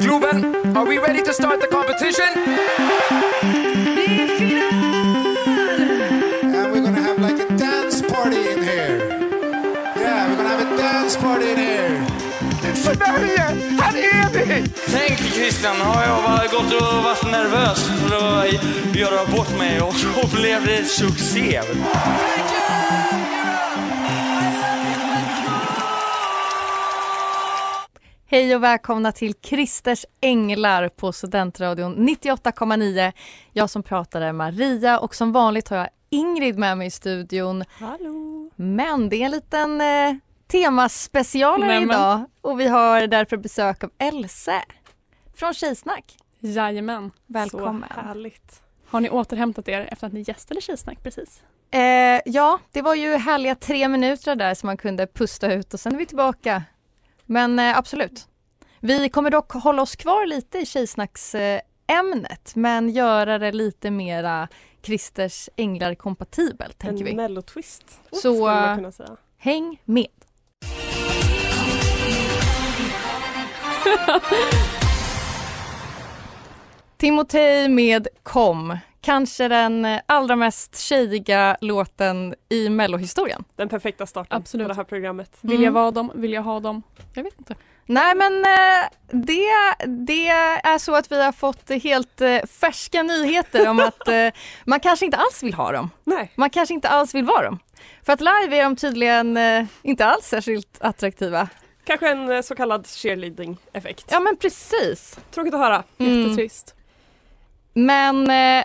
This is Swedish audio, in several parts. Globen, are we ready to start the competition? And we're gonna have like a dance party in here. Yeah, we're gonna have a dance party in here. Sverige, här är vi! Tänk Christian, har jag varit- gått och varit nervös för att göra bort mig och så blev det succé. Hej och välkomna till Kristers Änglar på Studentradion 98,9. Jag som pratar är Maria och som vanligt har jag Ingrid med mig i studion. Hallå! Men det är en liten eh, temaspecialare Nämen. idag och vi har därför besök av Else från Tjejsnack. Jajamän. Välkommen. Så härligt. Har ni återhämtat er efter att ni gästade Tjejsnack precis? Eh, ja, det var ju härliga tre minuter där som man kunde pusta ut och sen är vi tillbaka. Men eh, absolut. Vi kommer dock hålla oss kvar lite i tjejsnacksämnet eh, ämnet, men göra det lite mera Kristers änglar kompatibelt tänker en vi. mellotwist Oh, Så- skulle man kunna säga. Häng med! Timotej med Kom, kanske den eh, allra mest tjejiga låten i mellohistorien. Den perfekta starten Absolut. på det här programmet. Vill Mm. jag vara dem? Vill jag ha dem? Jag vet inte. Nej men eh, det, det är så att vi har fått helt eh, färska nyheter om att eh, man kanske inte alls vill ha dem. Nej, Man kanske inte alls vill vara dem. För att live är de tydligen eh, inte alls särskilt attraktiva. kanske en eh, så kallad cheerleading-effekt. Ja Mm. men precis. Tråkigt att höra. Jättetrist. Men eh,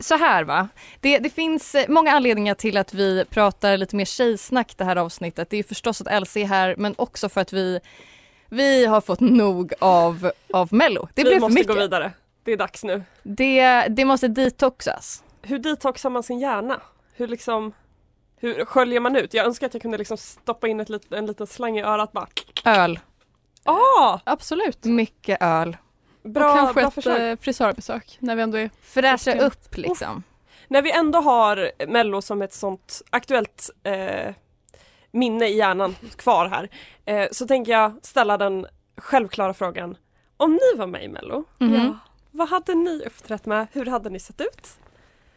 så här va, det, det finns eh, många anledningar till att vi pratar lite mer tjejsnack det här avsnittet. Det är ju förstås att LC är här men också för att vi, vi har fått nog av, av mello. Det vi blev för måste gå mycket. vidare. Det är dags nu. Det, det måste detoxas. Hur detoxar man sin hjärna? Hur liksom hur sköljer man ut? Jag önskar att jag kunde liksom stoppa in ett lit, en liten slang i örat bara. Öl. Ah, Absolut. Mycket öl. och bra, kanske bra ett förslag. eh, frisörbesök när vi ändå är... Fräscha Verkligen. upp liksom. När vi ändå har Mello som ett sånt aktuellt eh, minne i hjärnan kvar här eh, så tänker jag ställa den självklara frågan. Om ni var med i Mello, Mhm. Ja. vad hade ni uppträtt med? Hur hade ni sett ut?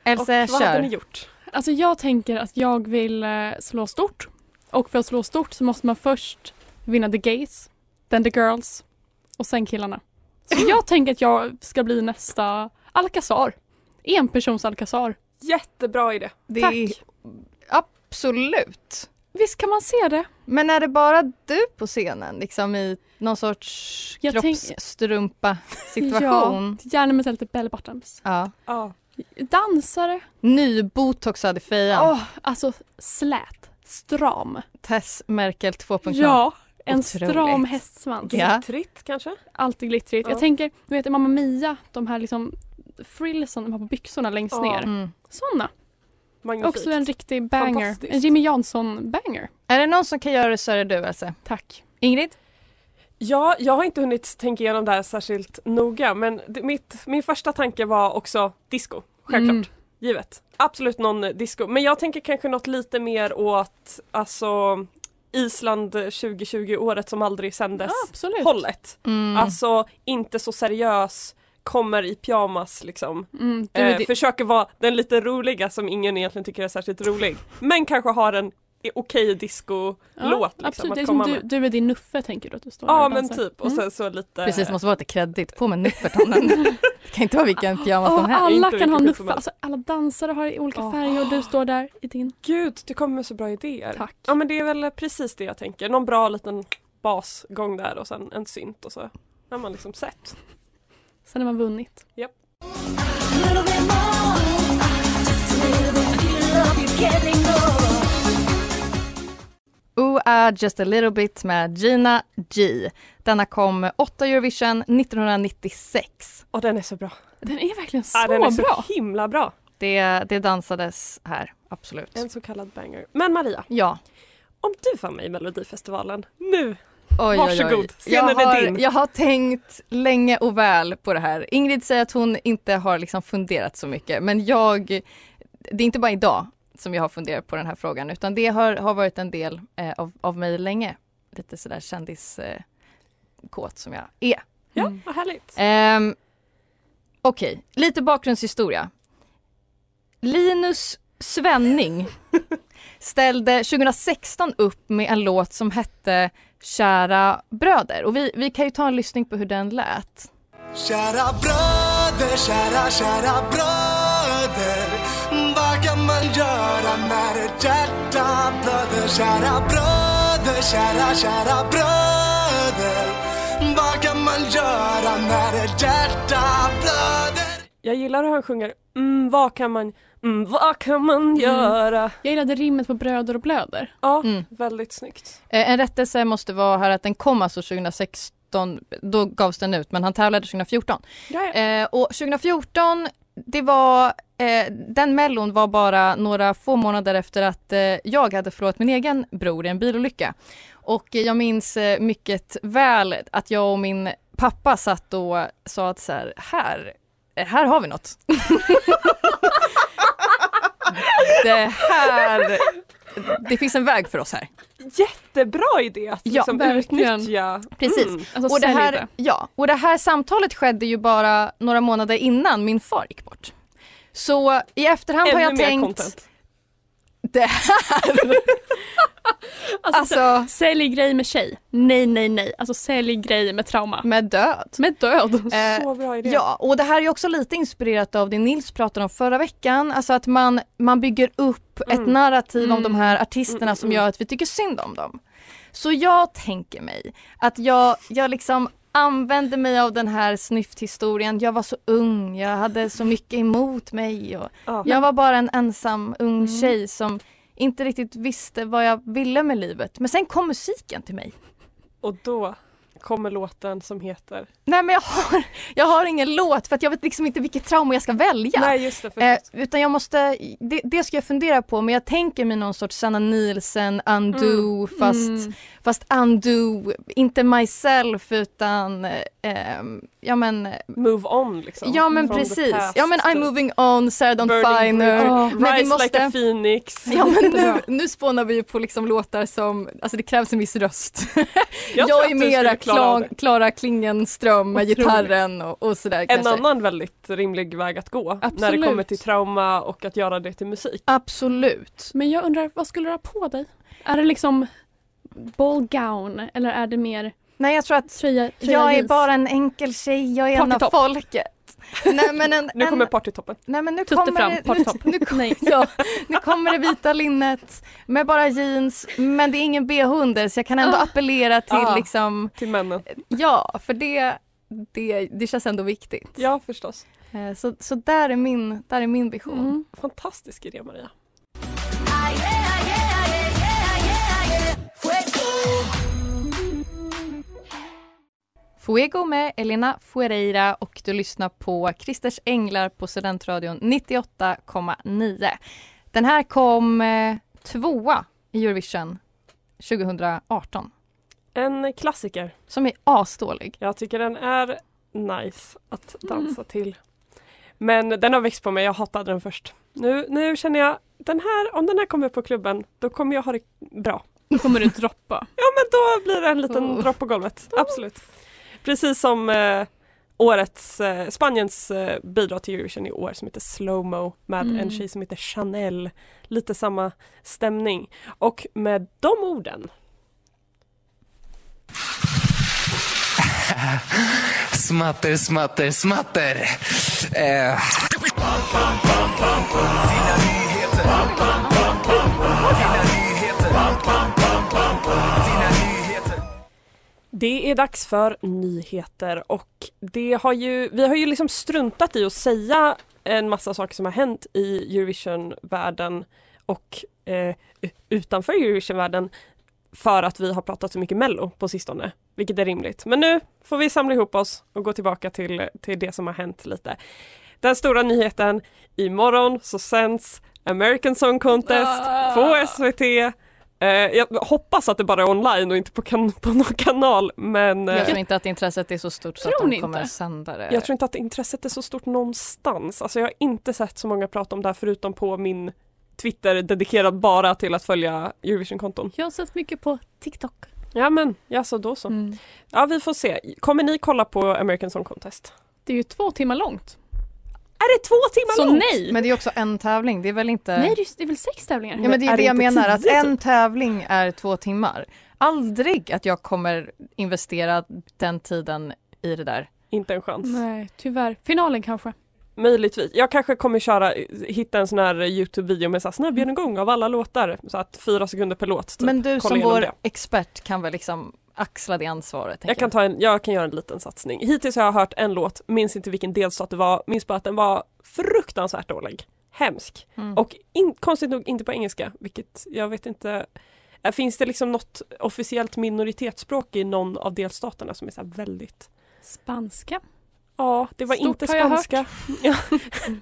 Else, och vad hade ni kör. gjort? Alltså jag tänker att jag vill eh, slå stort. Och för att slå stort så måste man först vinna the gays, then the girls och sen killarna. Så jag tänker att jag ska bli nästa Alcazar. Enpersons Alcazar. Jättebra idé. Det Tack. är- Absolut. Visst kan man se det? Men är det bara du på scenen liksom i någon sorts Jag tänk- kroppsstrumpa situation? Gärna med så här lite bell bottoms. ja. Ja. Dansare. Nybotoxad i fejan. Åh, alltså slät, stram. Tess Merkel 2.0. Ja, en Otroligt. stram hästsvans. Ja. Glittrigt kanske? Alltid glittrigt. Ja. Jag tänker, du vet i Mamma Mia, de här liksom frillsen de har på byxorna längst Ja. ner. Mm. Såna. Magnifikt. Också en riktig banger. Fantastiskt. En Jimmy Jansson-banger. Är det någon som kan göra det så är det du Else. Tack. Ingrid? Ja, jag har inte hunnit tänka igenom det här särskilt noga men det, mitt, min första tanke var också disco, självklart. Mm. Givet. Absolut någon disco. Men jag tänker kanske något lite mer åt alltså Island 2020 året som aldrig sändes Ja, Ah, absolut. hållet. Mm. Alltså inte så seriös, kommer i pyjamas liksom. Mm, du, eh, det, Försöker vara den lite roliga som ingen egentligen tycker är särskilt rolig. Men kanske har en okej disco-låt. liksom, absolut. att Det är komma som du, med. du med din nuffe tänker du att du står där Ja och men dansar. typ och Mm. sen så lite Precis, måste vara lite kreddigt. På med Nuffertonen. det kan inte vara vilken pyjamas som Åh, helst. alla Inte kan ha vilken som nuffa, helst. alltså, alla dansare har i olika Ja. färger och du står där i din. Gud, du kommer med så bra idéer. Tack. Ja men det är väl precis det jag tänker. Någon bra liten basgång där och sen en synt och så har man liksom sett. Sen har man vunnit. Ooh Ah Just A Little Bit med Gina G. Denna kom 8 Eurovision 1996. Och den är så bra. Den är verkligen så ja, den är bra. så himla bra. Det, det dansades här, absolut. En så kallad banger. Men Maria, Ja. om du var med i Melodifestivalen nu. Oj, Varsågod, Jag scenen är har, din. jag har tänkt länge och väl på det här. Ingrid säger att hon inte har liksom funderat så mycket, men jag... Det är inte bara idag som jag har funderat på den här frågan, utan det har, har varit en del eh, av, av mig länge. Lite sådär kändiskåt eh, kåt som jag är. Ja, vad härligt. Ehm, Okej, lite bakgrundshistoria. Linus Svenning ställde 2016 upp med en låt som hette Kära bröder och vi, vi kan ju ta en lyssning på hur den lät. Kära bröder, kära, kära bröder Vad kan man göra när ett hjärta blöder? Kära bröder, kära, kära bröder Vad kan man göra när ett hjärta blöder? Jag gillar hur han sjunger mm, vad kan man, mm, vad kan man göra? Jag gillade rimmet på bröder och blöder. Ja, Mm. väldigt snyggt. Eh, en rättelse måste vara här att den kom alltså 2016, då gavs den ut men han tävlade 2014. Eh, och 2014, det var, eh, den mellon var bara några få månader efter att eh, jag hade förlorat min egen bror i en bilolycka. Och eh, jag minns eh, mycket väl att jag och min pappa satt och sa att så här, här, eh, här har vi något. det här, det finns en väg för oss här. Jättebra idé att Ja, liksom verkligen. utnyttja. Precis. Mm. Alltså, och, det sälj här, det. ja, och det här samtalet skedde ju bara några månader innan min far gick bort. Så i efterhand har Ännu jag mer tänkt, content. det här, Alltså, alltså sälj grej med tjej. Nej, nej, nej. Alltså sälj grej med trauma. med död. Med död. Eh, Så bra idé. Ja, och det här är också lite inspirerat av det Nils pratade om förra veckan, alltså att man, man bygger upp ett narrativ om de här artisterna som gör att vi tycker synd om dem. Så jag tänker mig att jag, jag liksom använde mig av den här snyfthistorien, jag var så ung, jag hade så mycket emot mig och Ja. Mm. jag var bara en ensam ung tjej som inte riktigt visste vad jag ville med livet. Men sen kom musiken till mig. Och då kommer låten som heter Nej men jag har, jag har ingen låt för att jag vet liksom inte vilket trauma jag ska välja. Nej just det, för Eh, utan jag måste, det, det ska jag fundera på men jag tänker mig någon sorts Sanna Nielsen, Mm. undo fast, mm. fast undo, inte myself utan eh, ehm, ja men, move on liksom. ja men From the precis. past. typ. Ja men I'm moving on, Sarah Dawn Burning Finer. bridges. Ja, men vi Rise like a måste, phoenix. ja men nu, Jättebra. nu spånar vi ju på liksom låtar som, alltså det krävs en viss röst. Jag, tror att är du mera skulle klara av det. Kla- Klara Klingenström med Otroligt. gitarren och, och sådär En kanske. annan väldigt rimlig väg att gå när det Absolut. kommer till trauma och att göra det till musik. Absolut. Men jag undrar, vad skulle du ha på dig? Är det liksom ball gown eller är det mer Nej jag tror att tröja, tröja Jag är jeans? bara en enkel tjej, jag är en av Partytopp. folket. Nej men, en, Nu en, kommer partytoppen. nej, men nu Tutte kommer fram, det, partytopp. nu, nu, kom- Nej. ja, nu kommer det vita linnet med bara jeans men det är ingen bh under så jag kan ändå Ah. appellera till Ah. liksom, Till männen. ja för det, det, det känns ändå viktigt. Ja förstås. Eh, Så, så där, är min, där är min vision. Mm. Fantastisk idé Maria. Fuego med Elena Fuereira och du lyssnar på Christers Änglar på Studentradion 98,9. Den här kom eh, tvåa i Eurovision 2018 En klassiker. som är asdålig. Jag tycker den är nice att Mm. dansa till. Men den har växt på mig, jag hatade den först. Nu, nu känner jag, den här, om den här kommer på klubben då kommer jag ha det bra. Då kommer du droppa. Ja men då blir det en liten Oh. dropp på golvet, absolut. Precis som eh, årets, eh, Spaniens eh, bidrag till Eurovision i år som heter Slowmo med Mm. en tjej som heter Chanel. Lite samma stämning. Och med de orden, Smatter, smatter, smatter. Eh. det är dags för nyheter och det har ju, vi har ju liksom struntat i att säga en massa saker som har hänt i Eurovision-världen och eh, utanför Eurovision-världen för att vi har pratat så mycket Mello på sistone, vilket är rimligt. Men nu får vi samla ihop oss och gå tillbaka till, till det som har hänt lite. Den stora nyheten, imorgon så sänds American Song Contest på SVT. Eh, jag hoppas att det bara är online och inte på, kan, på någon kanal men eh, Jag tror inte att intresset är så stort så Tror att ni de kommer inte? sända det. jag tror inte att intresset är så stort någonstans. Alltså jag har inte sett så många prata om det här förutom på min Twitter dedikerad bara till att följa Eurovision-konton. Jag har sett mycket på TikTok. Ja men, ja så då så. Mm. Ja vi får se. Kommer ni kolla på American Song Contest? Det är ju två timmar långt. Är det två timmar Så långt? nej! Men det är också en tävling, det är väl inte... Nej, det är- det är väl sex tävlingar? ja, men det är, är det det jag inte menar, att tio typ? en tävling är två timmar. Aldrig att jag kommer investera den tiden i det där. Inte en chans. Nej, tyvärr. Finalen kanske. Möjligtvis. Jag kanske kommer köra, hitta en sån här Youtube-video med så här snabbgenomgång av alla låtar. Så att fyra sekunder per låt. Typ. Men du Kolla som igenom vår det. expert kan väl liksom axla det ansvaret? Jag tänker kan, ta en, jag kan göra en liten satsning. Hittills har jag hört en låt, minns inte vilken delstat det var, minns bara att den var fruktansvärt dålig. Hemsk. Mm. Och in, konstigt nog inte på engelska, vilket jag vet inte. Äh, Finns det liksom något officiellt minoritetsspråk i någon av delstaterna som är så här väldigt Spanska. Ja, det var Stort inte har jag spanska. Ja,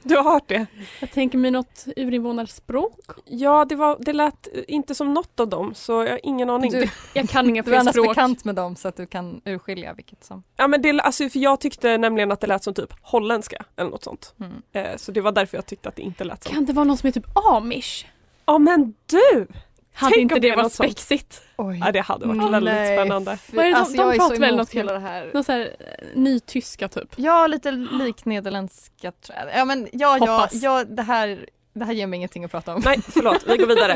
du har hört det? Jag tänker mig något urinvånarspråk. Ja, det, var, det lät eh, inte som något av dem så jag har ingen aning. Du, Jag kan inga du är fler annars språk. bekant med dem så att du kan urskilja vilket som... Ja, men det, alltså, för jag tyckte nämligen att det lät som typ holländska eller något sånt. Mm. Eh, så det var därför jag tyckte att det inte lät som. Kan det vara någon som är typ amish? Ja men du! Hade Tänk om inte det det är varit något sånt. spexigt? Oj. Ja det hade varit Mm. väldigt Nej. spännande. Fy, Vad är det de- alltså, de jag är så pratar väl emot något hela det här. Någon så här eh, ny tyska typ. Ja, lite lik nederländska tror jag. Ja, men ja, ja, Hoppas. ja det, här, det här ger mig ingenting att prata om. Nej förlåt, vi går vidare.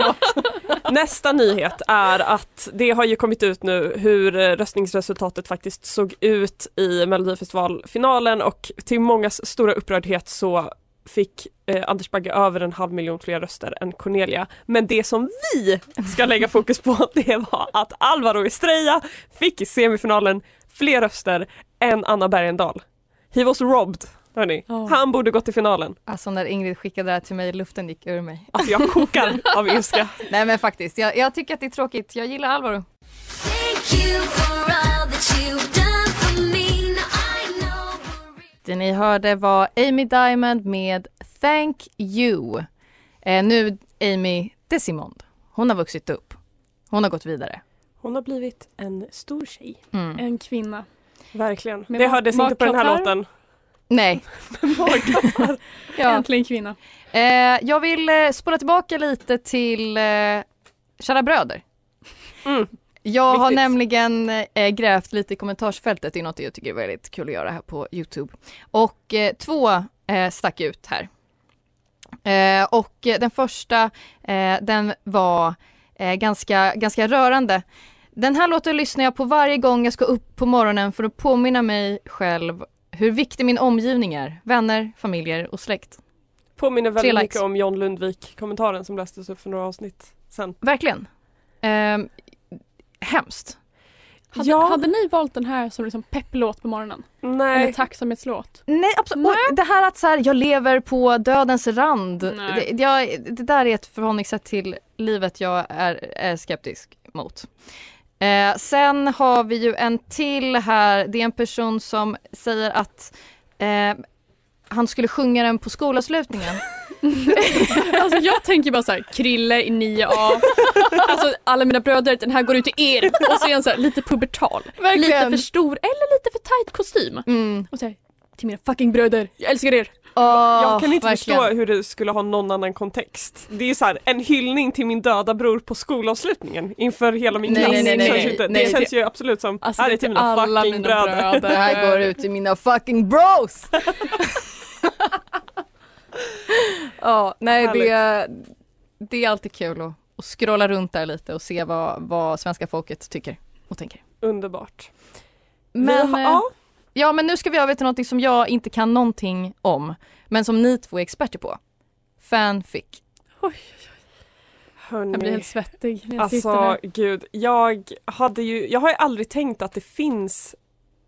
Nästa nyhet är att det har ju kommit ut nu hur eh, röstningsresultatet faktiskt såg ut i Melodifestivalfinalen och till mångas stora upprördhet så fick eh, Anders Bagge över en halv miljon fler röster än Cornelia. Men det som vi ska lägga fokus på det var att Alvaro Estrella fick i semifinalen fler röster än Anna Bergendahl. He was robbed, hörni. Ja. Han borde gått till finalen. Alltså när Ingrid skickade det här till mig, luften gick ur mig. Alltså jag kokar av ilska. Nej men faktiskt, jag, jag tycker att det är tråkigt. Jag gillar Alvaro. Det ni hörde var Amy Diamond med Thank You. Eh, nu Amy Desimond. Hon har vuxit upp. Hon har gått vidare. Hon har blivit en stor tjej. Mm. En kvinna. Verkligen. Med det ma- hördes inte på den här magkatarr. låten. Nej. ja. Äntligen kvinna. eh, jag vill eh, spola tillbaka lite till eh, Kära bröder. Mm. Jag har Viktigt. nämligen eh, grävt lite i kommentarsfältet, det är något jag tycker är väldigt kul att göra här på Youtube. Och eh, två eh, stack ut här. Eh, och eh, den första, eh, den var eh, ganska, ganska rörande. Den här låten lyssnar jag på varje gång jag ska upp på morgonen för att påminna mig själv hur viktig min omgivning är, vänner, familjer och släkt. Påminner väldigt likes. mycket om John Lundvik-kommentaren som lästes upp för några avsnitt sen. Verkligen. Eh, hemskt. Hade, Ja. hade ni valt den här som liksom pepplåt på morgonen? Eller Nej, tacksamhetslåt? Nej absolut. Och det här att så här, jag lever på dödens rand. Det, Nej. det- jag, det där är ett förhållningssätt till livet jag är, är skeptisk mot. Eh, sen har vi ju en till här. Det är en person som säger att eh, han skulle sjunga den på skolavslutningen. Alltså jag tänker bara så här, Krille i 9A. Alltså alla mina bröder, den här går ut till er. Och så är han så här, lite pubertal. Lite för stor eller lite för tight kostym. Mm. Och så här, till mina fucking bröder, jag älskar er. Jag kan inte Åh, förstå verkligen. hur det skulle ha någon annan kontext. Det är ju så här, en hyllning till min döda bror på skolavslutningen inför hela min Nej, klass. nej, det nej, nej, känns ju nej. inte, Nej, det det- känns ju absolut som, Alltså, här är det är till till mina alla fucking mina bröder. bröder. Det här går ut till mina fucking bros! ja, nej det, det är alltid kul att, att scrolla runt där lite och se vad, vad svenska folket tycker och tänker. Underbart. Men, Vi har- eh, ja, ja, men nu ska vi över till något som jag inte kan någonting om, men som ni två är experter på. Fanfic. hörni. Jag blir helt svettig när jag sitter Alltså här. gud, jag hade ju, jag har ju aldrig tänkt att det finns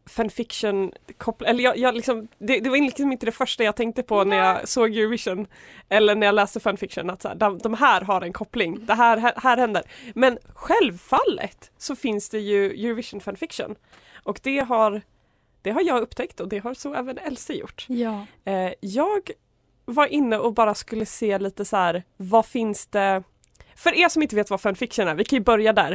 fanfiction kopplat, eller jag, jag liksom, det, det var liksom inte det första jag tänkte på när jag såg Eurovision eller när jag läste fanfiction att så här, de, de här har en koppling, det här, här, här händer. Men självfallet så finns det ju Eurovision fanfiction och det har, det har jag upptäckt och det har så även Elsie gjort. Ja. Eh, jag var inne och bara skulle se lite så här, vad finns det? För er som inte vet vad fanfiction är, vi kan ju börja där.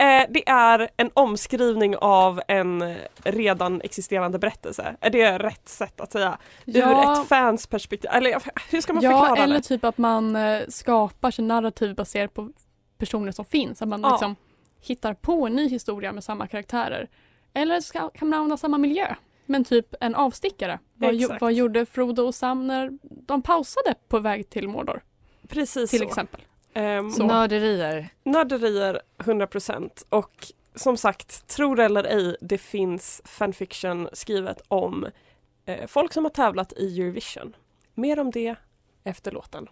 Eh, det är en omskrivning av en eh, redan existerande berättelse. Är det rätt sätt att säga? Ur Ja. ett fans perspektiv, eller jag- hur ska man Ja, förklara eller det? typ att man eh, skapar sin narrativ baserat på personer som finns. Att man Ja. liksom hittar på en ny historia med samma karaktärer. Eller ska, kan man använda samma miljö, men typ en avstickare. Vad, gjo- Exakt. vad gjorde Frodo och Sam när de pausade på väg till Mordor, Precis till så. exempel? Ehm, Så. Nörderier. Nörderier 100% och som sagt, tror eller ej, det finns fanfiction skrivet om eh, folk som har tävlat i Eurovision. Mer om det efter låten.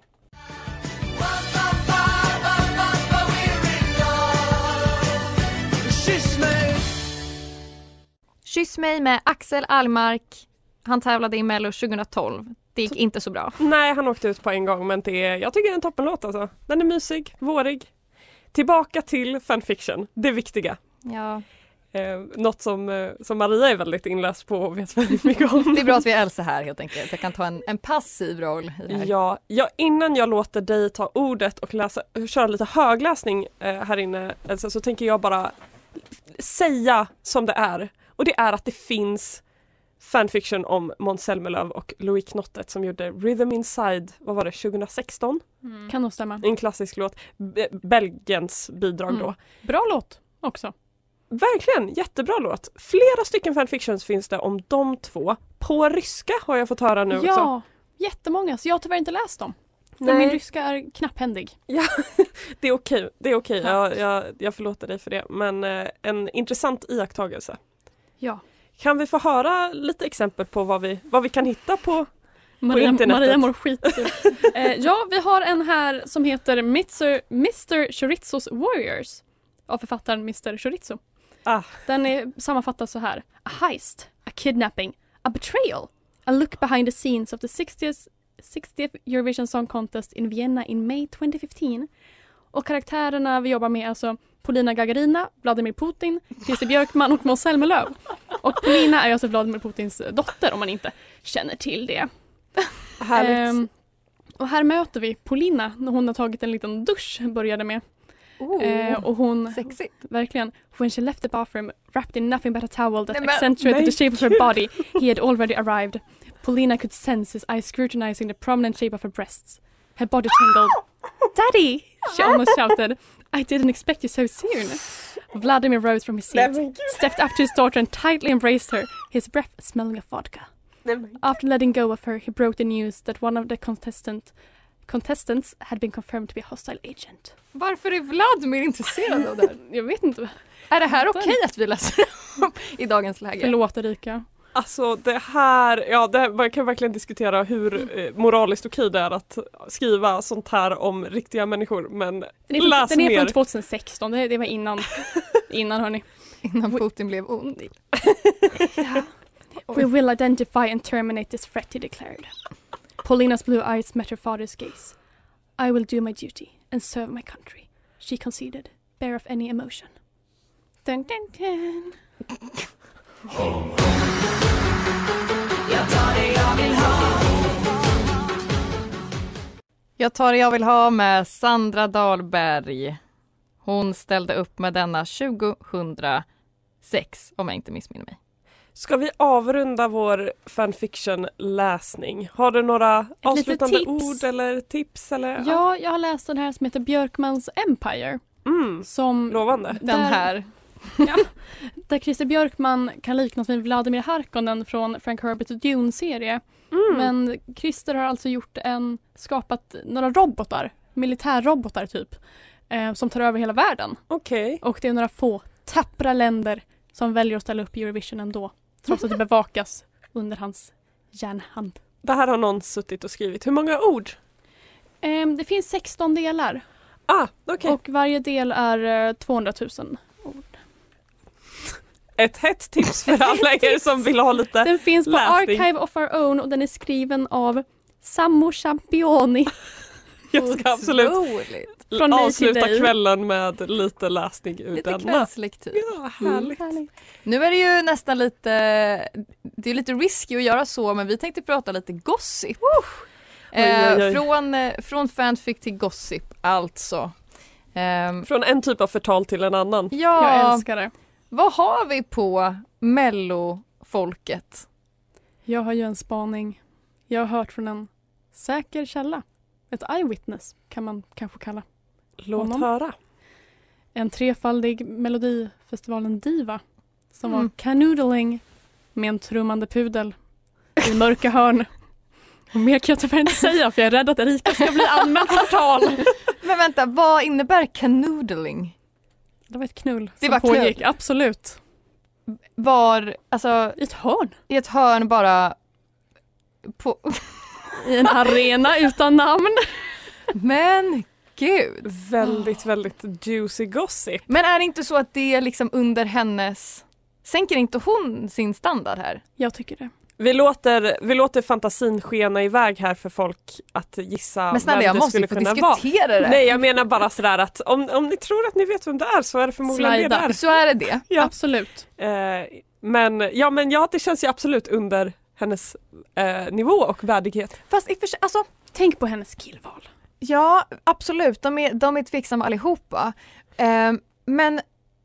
Kyss mig med Axel Almark. Han tävlade i Mello 2012. Det gick inte så bra. Nej, han åkte ut på en gång men det är, jag tycker det är en toppenlåt alltså. Den är mysig, vårig. Tillbaka till fanfiction, det viktiga. Ja. Eh, något som, eh, som Maria är väldigt inläst på och vet väldigt mycket om. Det är bra att vi är Elsa här helt enkelt. Jag kan ta en, en passiv roll i det här. Ja, ja, innan jag låter dig ta ordet och läsa, köra lite högläsning eh, här inne Elsa, så tänker jag bara säga som det är. Och det är att det finns fanfiction om Måns Zelmerlöw och Louis Knottet som gjorde Rhythm Inside, vad var det, 2016? Kan nog stämma. En klassisk låt. B- Belgiens bidrag då. Mm. Bra låt också. Verkligen, jättebra låt. Flera stycken fanfictions finns det om de två. På ryska har jag fått höra nu också. Ja, jättemånga. Så jag har tyvärr inte läst dem. För Nej. min ryska är knapphändig. Det är okej, det är okej. Jag, jag, jag förlåter dig för det. Men eh, en intressant iakttagelse. Ja. Kan vi få höra lite exempel på vad vi, vad vi kan hitta på? Maria, internetet. Maria mår skit. eh, ja, vi har en här som heter Mr. Mr. Chorizos Warriors av författaren Mr. Chorizo. Ah. Den är sammanfattas så här. A heist, a kidnapping, a betrayal, a look behind the scenes of the 60th, 60th Eurovision Song Contest in Vienna in May 2015. Och karaktärerna vi jobbar med är alltså Polina Gagarina, Vladimir Putin, Christer Björkman och Måns Zelmerlöw. Och Polina är alltså Vladimir Putins dotter om man inte känner till det. Härligt. Ehm, och här möter vi Polina när hon har tagit en liten dusch började med. Eh, och hon, Sexigt. verkligen, when she left the bathroom wrapped in nothing but a towel that Nej, men- accentuated Nej, the shape of her body, he had already arrived. Polina could sense his eyes scrutinizing the prominent shape of her breasts. Her body tingled. Daddy! She almost shouted. I didn't expect you so soon. Vladimir rose from his Nej, seat, men gud. stepped up to his daughter and tightly embraced her, his breath smelling of vodka. Nej, men- After letting go of her, he broke the news that one of the contestant, contestants had been confirmed to be a hostile agent. Varför är Vladimir intresserad av det här? Jag vet inte. Är det här okej att vi läser om i dagens läge? Förlåt Erika. Alltså det här, ja det här, man kan verkligen diskutera hur eh, moraliskt okej det är att skriva sånt här om riktiga människor men Den är från, läs den är mer. från 2016, det, det var innan. innan hörni. Innan Putin blev ond. We will identify and terminate this threat, he declared. Paulina's blue eyes met her father's gaze. I will do my duty and serve my country, she conceded, bare of any emotion. Dun, dun, dun. Jag tar det jag vill ha med Sandra Dahlberg. Hon ställde upp med denna 2006 om jag inte missminner mig. Ska vi avrunda vår fanfiction-läsning? Har du några avslutande litet tips. ord eller tips? Eller? Ja, jag har läst den här som heter Björkmans Empire. Mm, Som lovande. Den Där- här. Där Christer Björkman kan liknas vid Vladimir Harkonnen från Frank Herberts Dune-serie. Mm. Mm. Men Christer har alltså gjort en, skapat några robotar, militärrobotar typ, eh, som tar över hela världen. Okej. Och det är några få tappra länder som väljer att ställa upp i Eurovision ändå, trots att det bevakas under hans järnhand. Det här har någon suttit och skrivit. Hur många ord? Eh, det finns 16 delar Ah, okej. och varje del är eh, 200 000. Ett hett tips för alla er som vill ha lite. Den finns på läsning. Archive of Our Own och den är skriven av Sammo Championi. Jag ska absolut Otroligt. Från mig till avsluta dig. kvällen med lite läsning ur Lite typ. denna. kvällslektyr. Ja, härligt. Nu är det ju nästan lite, det är lite risky att göra så men vi tänkte prata lite gossip. Eh, Oj, oj, oj. Från, eh, från fanfic till gossip alltså. Ehm, Från en typ av förtal till en annan. Jag ja, älskar det. vad har vi på mellofolket? Jag har ju en spaning. Jag har hört från en säker källa. Ett eyewitness kan man kanske kalla. Låt Honom. höra. En trefaldig Melodifestivalen-diva som Mm. var canoodling med en trummande pudel i mörka hörn. Och mer kan jag tyvärr inte säga för jag är rädd att Erika ska bli anmäld för tal. Men vänta, vad innebär canoodling? Det var ett knull Det som var knull. pågick, absolut. Var, alltså I ett hörn. i ett hörn bara på, I en arena utan namn. men gud. Väldigt, Ah. väldigt juicy gossip. Men är det inte så att det är liksom under hennes, sänker inte hon sin standard här? Jag tycker det. Vi låter, vi låter fantasin skena iväg här för folk att gissa Men snälla vem jag det måste ju skulle få kunna vara. diskutera det. Nej jag menar bara sådär att om, om ni tror att ni vet vem det är så är det förmodligen det Slida. där. Så är det det. Ja. Absolut. Eh, men ja, men ja, det känns ju absolut under hennes eh, nivå och värdighet. Fast i och för sig, alltså Tänk på hennes killval. ja absolut, de är, de är tveksamma allihopa. Ehm, men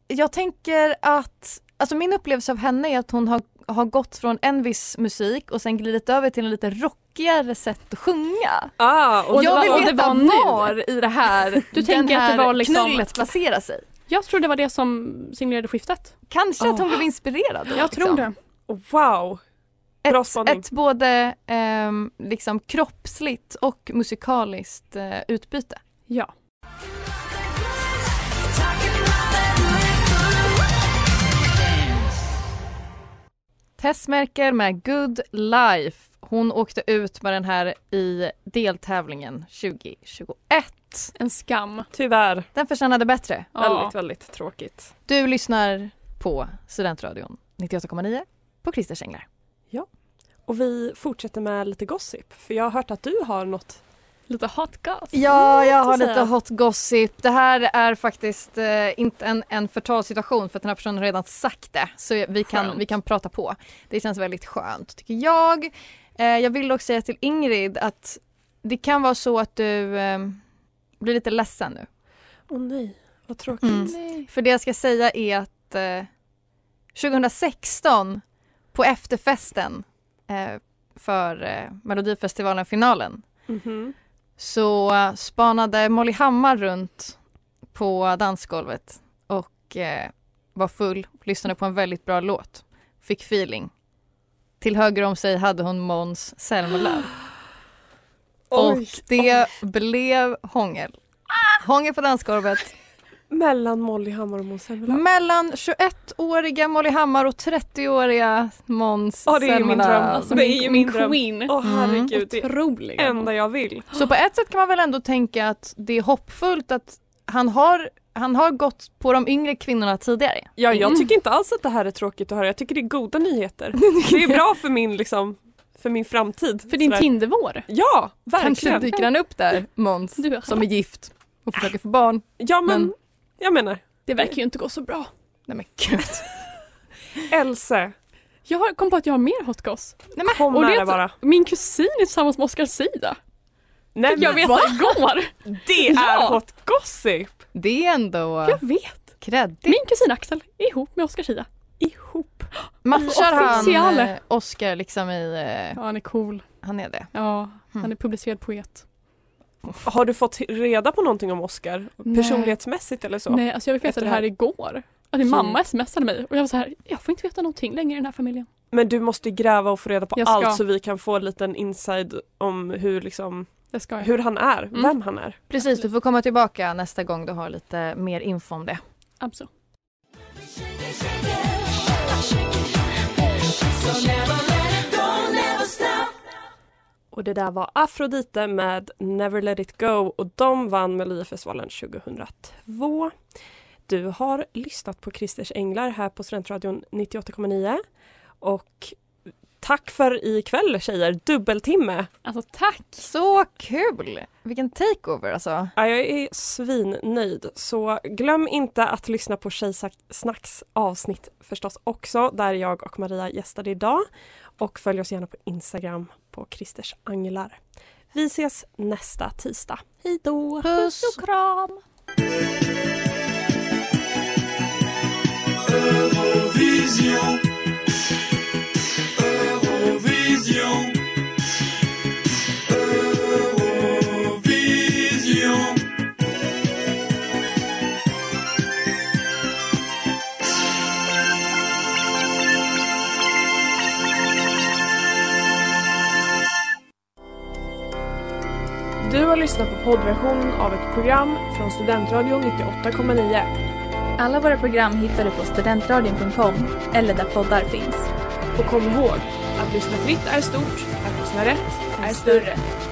jag tänker att, alltså min upplevelse av henne är att hon har, har gått från en viss musik och sen glidit över till en lite rockigare sätt att sjunga. Ah, och Och jag det vill var- och det veta var nu. var i det här, Du den tänker att här det var liksom- knullet placerar sig. Jag tror det var det som signalerade skiftet. Kanske att Oh. hon blev inspirerad då, Jag tror liksom. det. wow! Bra Ett, spaning. ett både ehm, liksom kroppsligt och musikaliskt eh, utbyte. Ja. Tess Merkel med Good Life. Hon åkte ut med den här i deltävlingen 2021. En skam. Tyvärr. Den förtjänade bättre. Väldigt, väldigt tråkigt. Du lyssnar på Studentradion 98,9 på Christers Änglar. Och vi fortsätter med lite gossip, för jag har hört att du har något. Lite hot gas. Ja, jag har så lite säga. hot gossip. Det här är faktiskt eh, inte en, en förtalssituation för att den här personen har redan sagt det. Så vi kan, Skönt. vi kan prata på. Det känns väldigt skönt tycker jag. Eh, jag vill dock säga till Ingrid att det kan vara så att du eh, blir lite ledsen nu. Åh nej, vad tråkigt. Mm. För det jag ska säga är att eh, 2016 på efterfesten eh, för eh, Melodifestivalen-finalen Mhm. så eh, spanade Molly Hammar runt på dansgolvet och eh, var full, lyssnade på en väldigt bra låt, fick feeling. Till höger om sig hade hon Måns Zelmerlöw och Oj. det blev hångel. Hångel på dansgolvet Mellan Molly Hammar och Måns Mm. Zelmerlöw. mellan 21-åriga Molly Hammar och 30-åriga Måns Ja, det är ju min Zelmerlöw. dröm. Alltså Det min, är ju min, min dröm. queen. Åh Mm. herregud, det är Otrolig. det enda jag vill. Så på ett sätt kan man väl ändå tänka att det är hoppfullt att han har, han har gått på de yngre kvinnorna tidigare. Ja, jag Mm. tycker inte alls att det här är tråkigt att höra. Jag tycker det är goda nyheter. Det är bra för min, liksom, för min framtid. För din Sådär. Tindervår. Ja, Kanske verkligen. dyker han upp där, Måns, Du, som är gift och försöker få barn. Ja, men men- jag menar, det verkar ju inte gå så bra. Nej men gud. Else, Jag har- kom på att jag har mer hot goss. kom och det nära är- bara. Min kusin är tillsammans med Oscar Sida. Nej, Jag vet det igår. det är Ja. hot gossip! Det är ändå Jag vet. kreddigt. Min kusin Axel är ihop med Oscar Sida. Ihop. Matchar han Officiale. eh, Oscar liksom i... Eh, Ja, han är cool. han är det. Ja, han Mm. är publicerad poet. Har du fått reda på någonting om Oscar? Nej. Personlighetsmässigt eller så? Nej, alltså jag fick veta Efter det det här här. igår. Att min Mm. mamma smsade mig och jag var så här, jag får inte veta någonting längre i den här familjen. Men du måste ju gräva och få reda på Jag ska. allt så vi kan få en liten inside om hur, liksom, Det ska jag. hur han är, Mm. vem han är. Precis, du får komma tillbaka nästa gång du har lite mer info om det. Absolut. Och det där var Afrodite med Never Let It Go och de vann Melodifestivalen 2002. Du har lyssnat på Christers Änglar här på Studentradion 98,9 och tack för ikväll tjejer, dubbeltimme! Alltså tack! Så kul! Vilken takeover alltså. Ja, jag är svinnöjd. Så glöm inte att lyssna på Tjejsnacks avsnitt förstås också, där jag och Maria gästade idag. Och följ oss gärna på Instagram på Christers Anglar. Vi ses nästa tisdag. Hej då! Puss! och kram! Eurovision. Uh, Eurovision. Uh, Eurovision. Du har lyssnat på poddversionen av ett program från Studentradion 98,9. Alla våra program hittar du på studentradion.com eller där poddar finns. Och kom ihåg, att lyssna fritt är stort, att lyssna rätt är större.